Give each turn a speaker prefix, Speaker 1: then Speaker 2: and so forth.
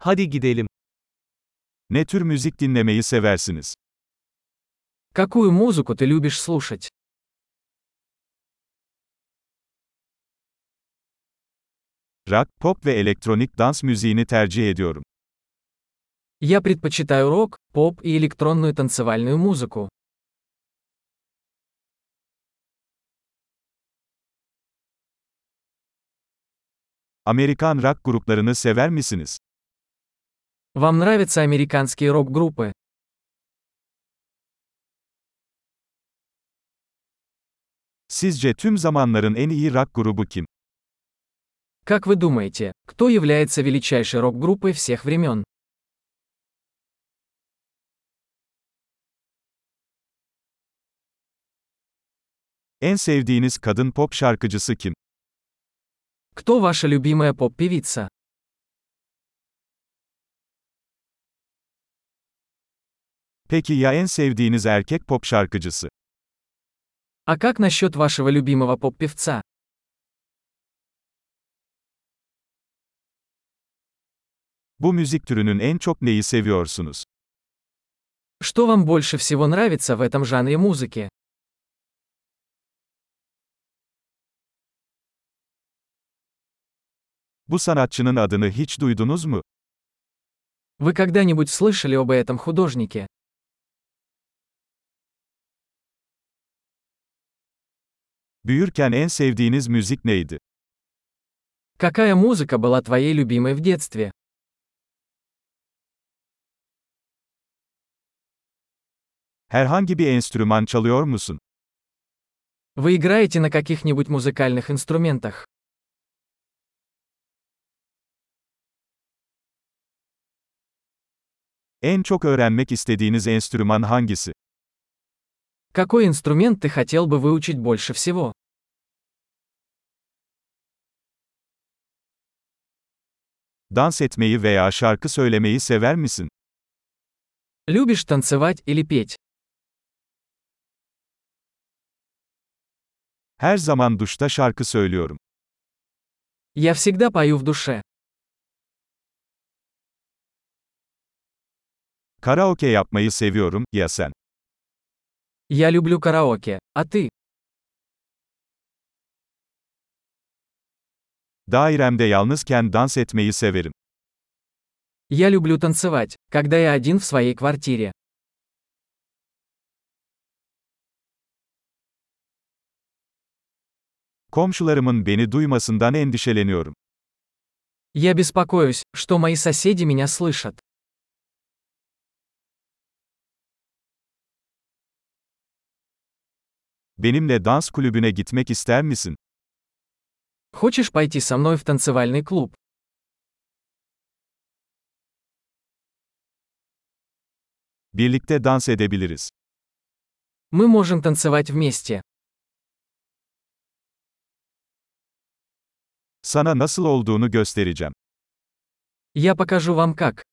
Speaker 1: Hadi gidelim.
Speaker 2: Ne tür müzik dinlemeyi seversiniz?
Speaker 3: Какую музыку ты любишь слушать?
Speaker 2: Rock, pop ve elektronik dans müziğini tercih ediyorum.
Speaker 3: Я предпочитаю рок, поп и электронную танцевальную музыку.
Speaker 2: Amerikan rock gruplarını sever misiniz?
Speaker 3: Вам нравятся американские рок-группы?
Speaker 2: Sizce tüm zamanların en iyi rock grubu kim?
Speaker 3: Как вы думаете, кто является величайшей рок-группой всех времен?
Speaker 2: En sevdiğiniz kadın pop şarkıcısı kim?
Speaker 3: Кто ваша любимая поп-певица?
Speaker 2: Peki ya en sevdiğiniz erkek pop şarkıcısı?
Speaker 3: А как насчет вашего любимого поп-певца?
Speaker 2: Bu müzik türünün en çok neyi seviyorsunuz?
Speaker 3: Что вам больше всего нравится в этом жанре музыки?
Speaker 2: Bu sanatçının adını hiç duydunuz mu?
Speaker 3: Вы когда-нибудь слышали об этом художнике?
Speaker 2: Büyürken en sevdiğiniz müzik neydi?
Speaker 3: Какая музыка была твоей любимой в детстве?
Speaker 2: Herhangi bir enstrüman çalıyor musun?
Speaker 3: Вы играете на каких-нибудь музыкальных инструментах?
Speaker 2: En çok öğrenmek istediğiniz enstrüman hangisi?
Speaker 3: Какой инструмент ты хотел бы выучить больше всего?
Speaker 2: Dans etmeyi veya şarkı söylemeyi sever misin?
Speaker 3: Любишь танцевать или петь?
Speaker 2: Her zaman duşta şarkı söylüyorum.
Speaker 3: Я всегда пою в душе.
Speaker 2: Karaoke yapmayı seviyorum, ya sen?
Speaker 3: Я люблю караоке. А ты?
Speaker 2: Dairemde yalnızken dans etmeyi severim.
Speaker 3: Я люблю танцевать, когда я один в своей квартире.
Speaker 2: Komşularımın beni duymasından endişeleniyorum.
Speaker 3: Я беспокоюсь, что мои соседи меня слышат.
Speaker 2: Benimle dans kulübüne gitmek ister misin?
Speaker 3: Хочешь пойти со мной в танцевальный клуб?
Speaker 2: Birlikte dans edebiliriz.
Speaker 3: Мы можем танцевать вместе.
Speaker 2: Sana nasıl olduğunu göstereceğim.
Speaker 3: Я покажу вам как.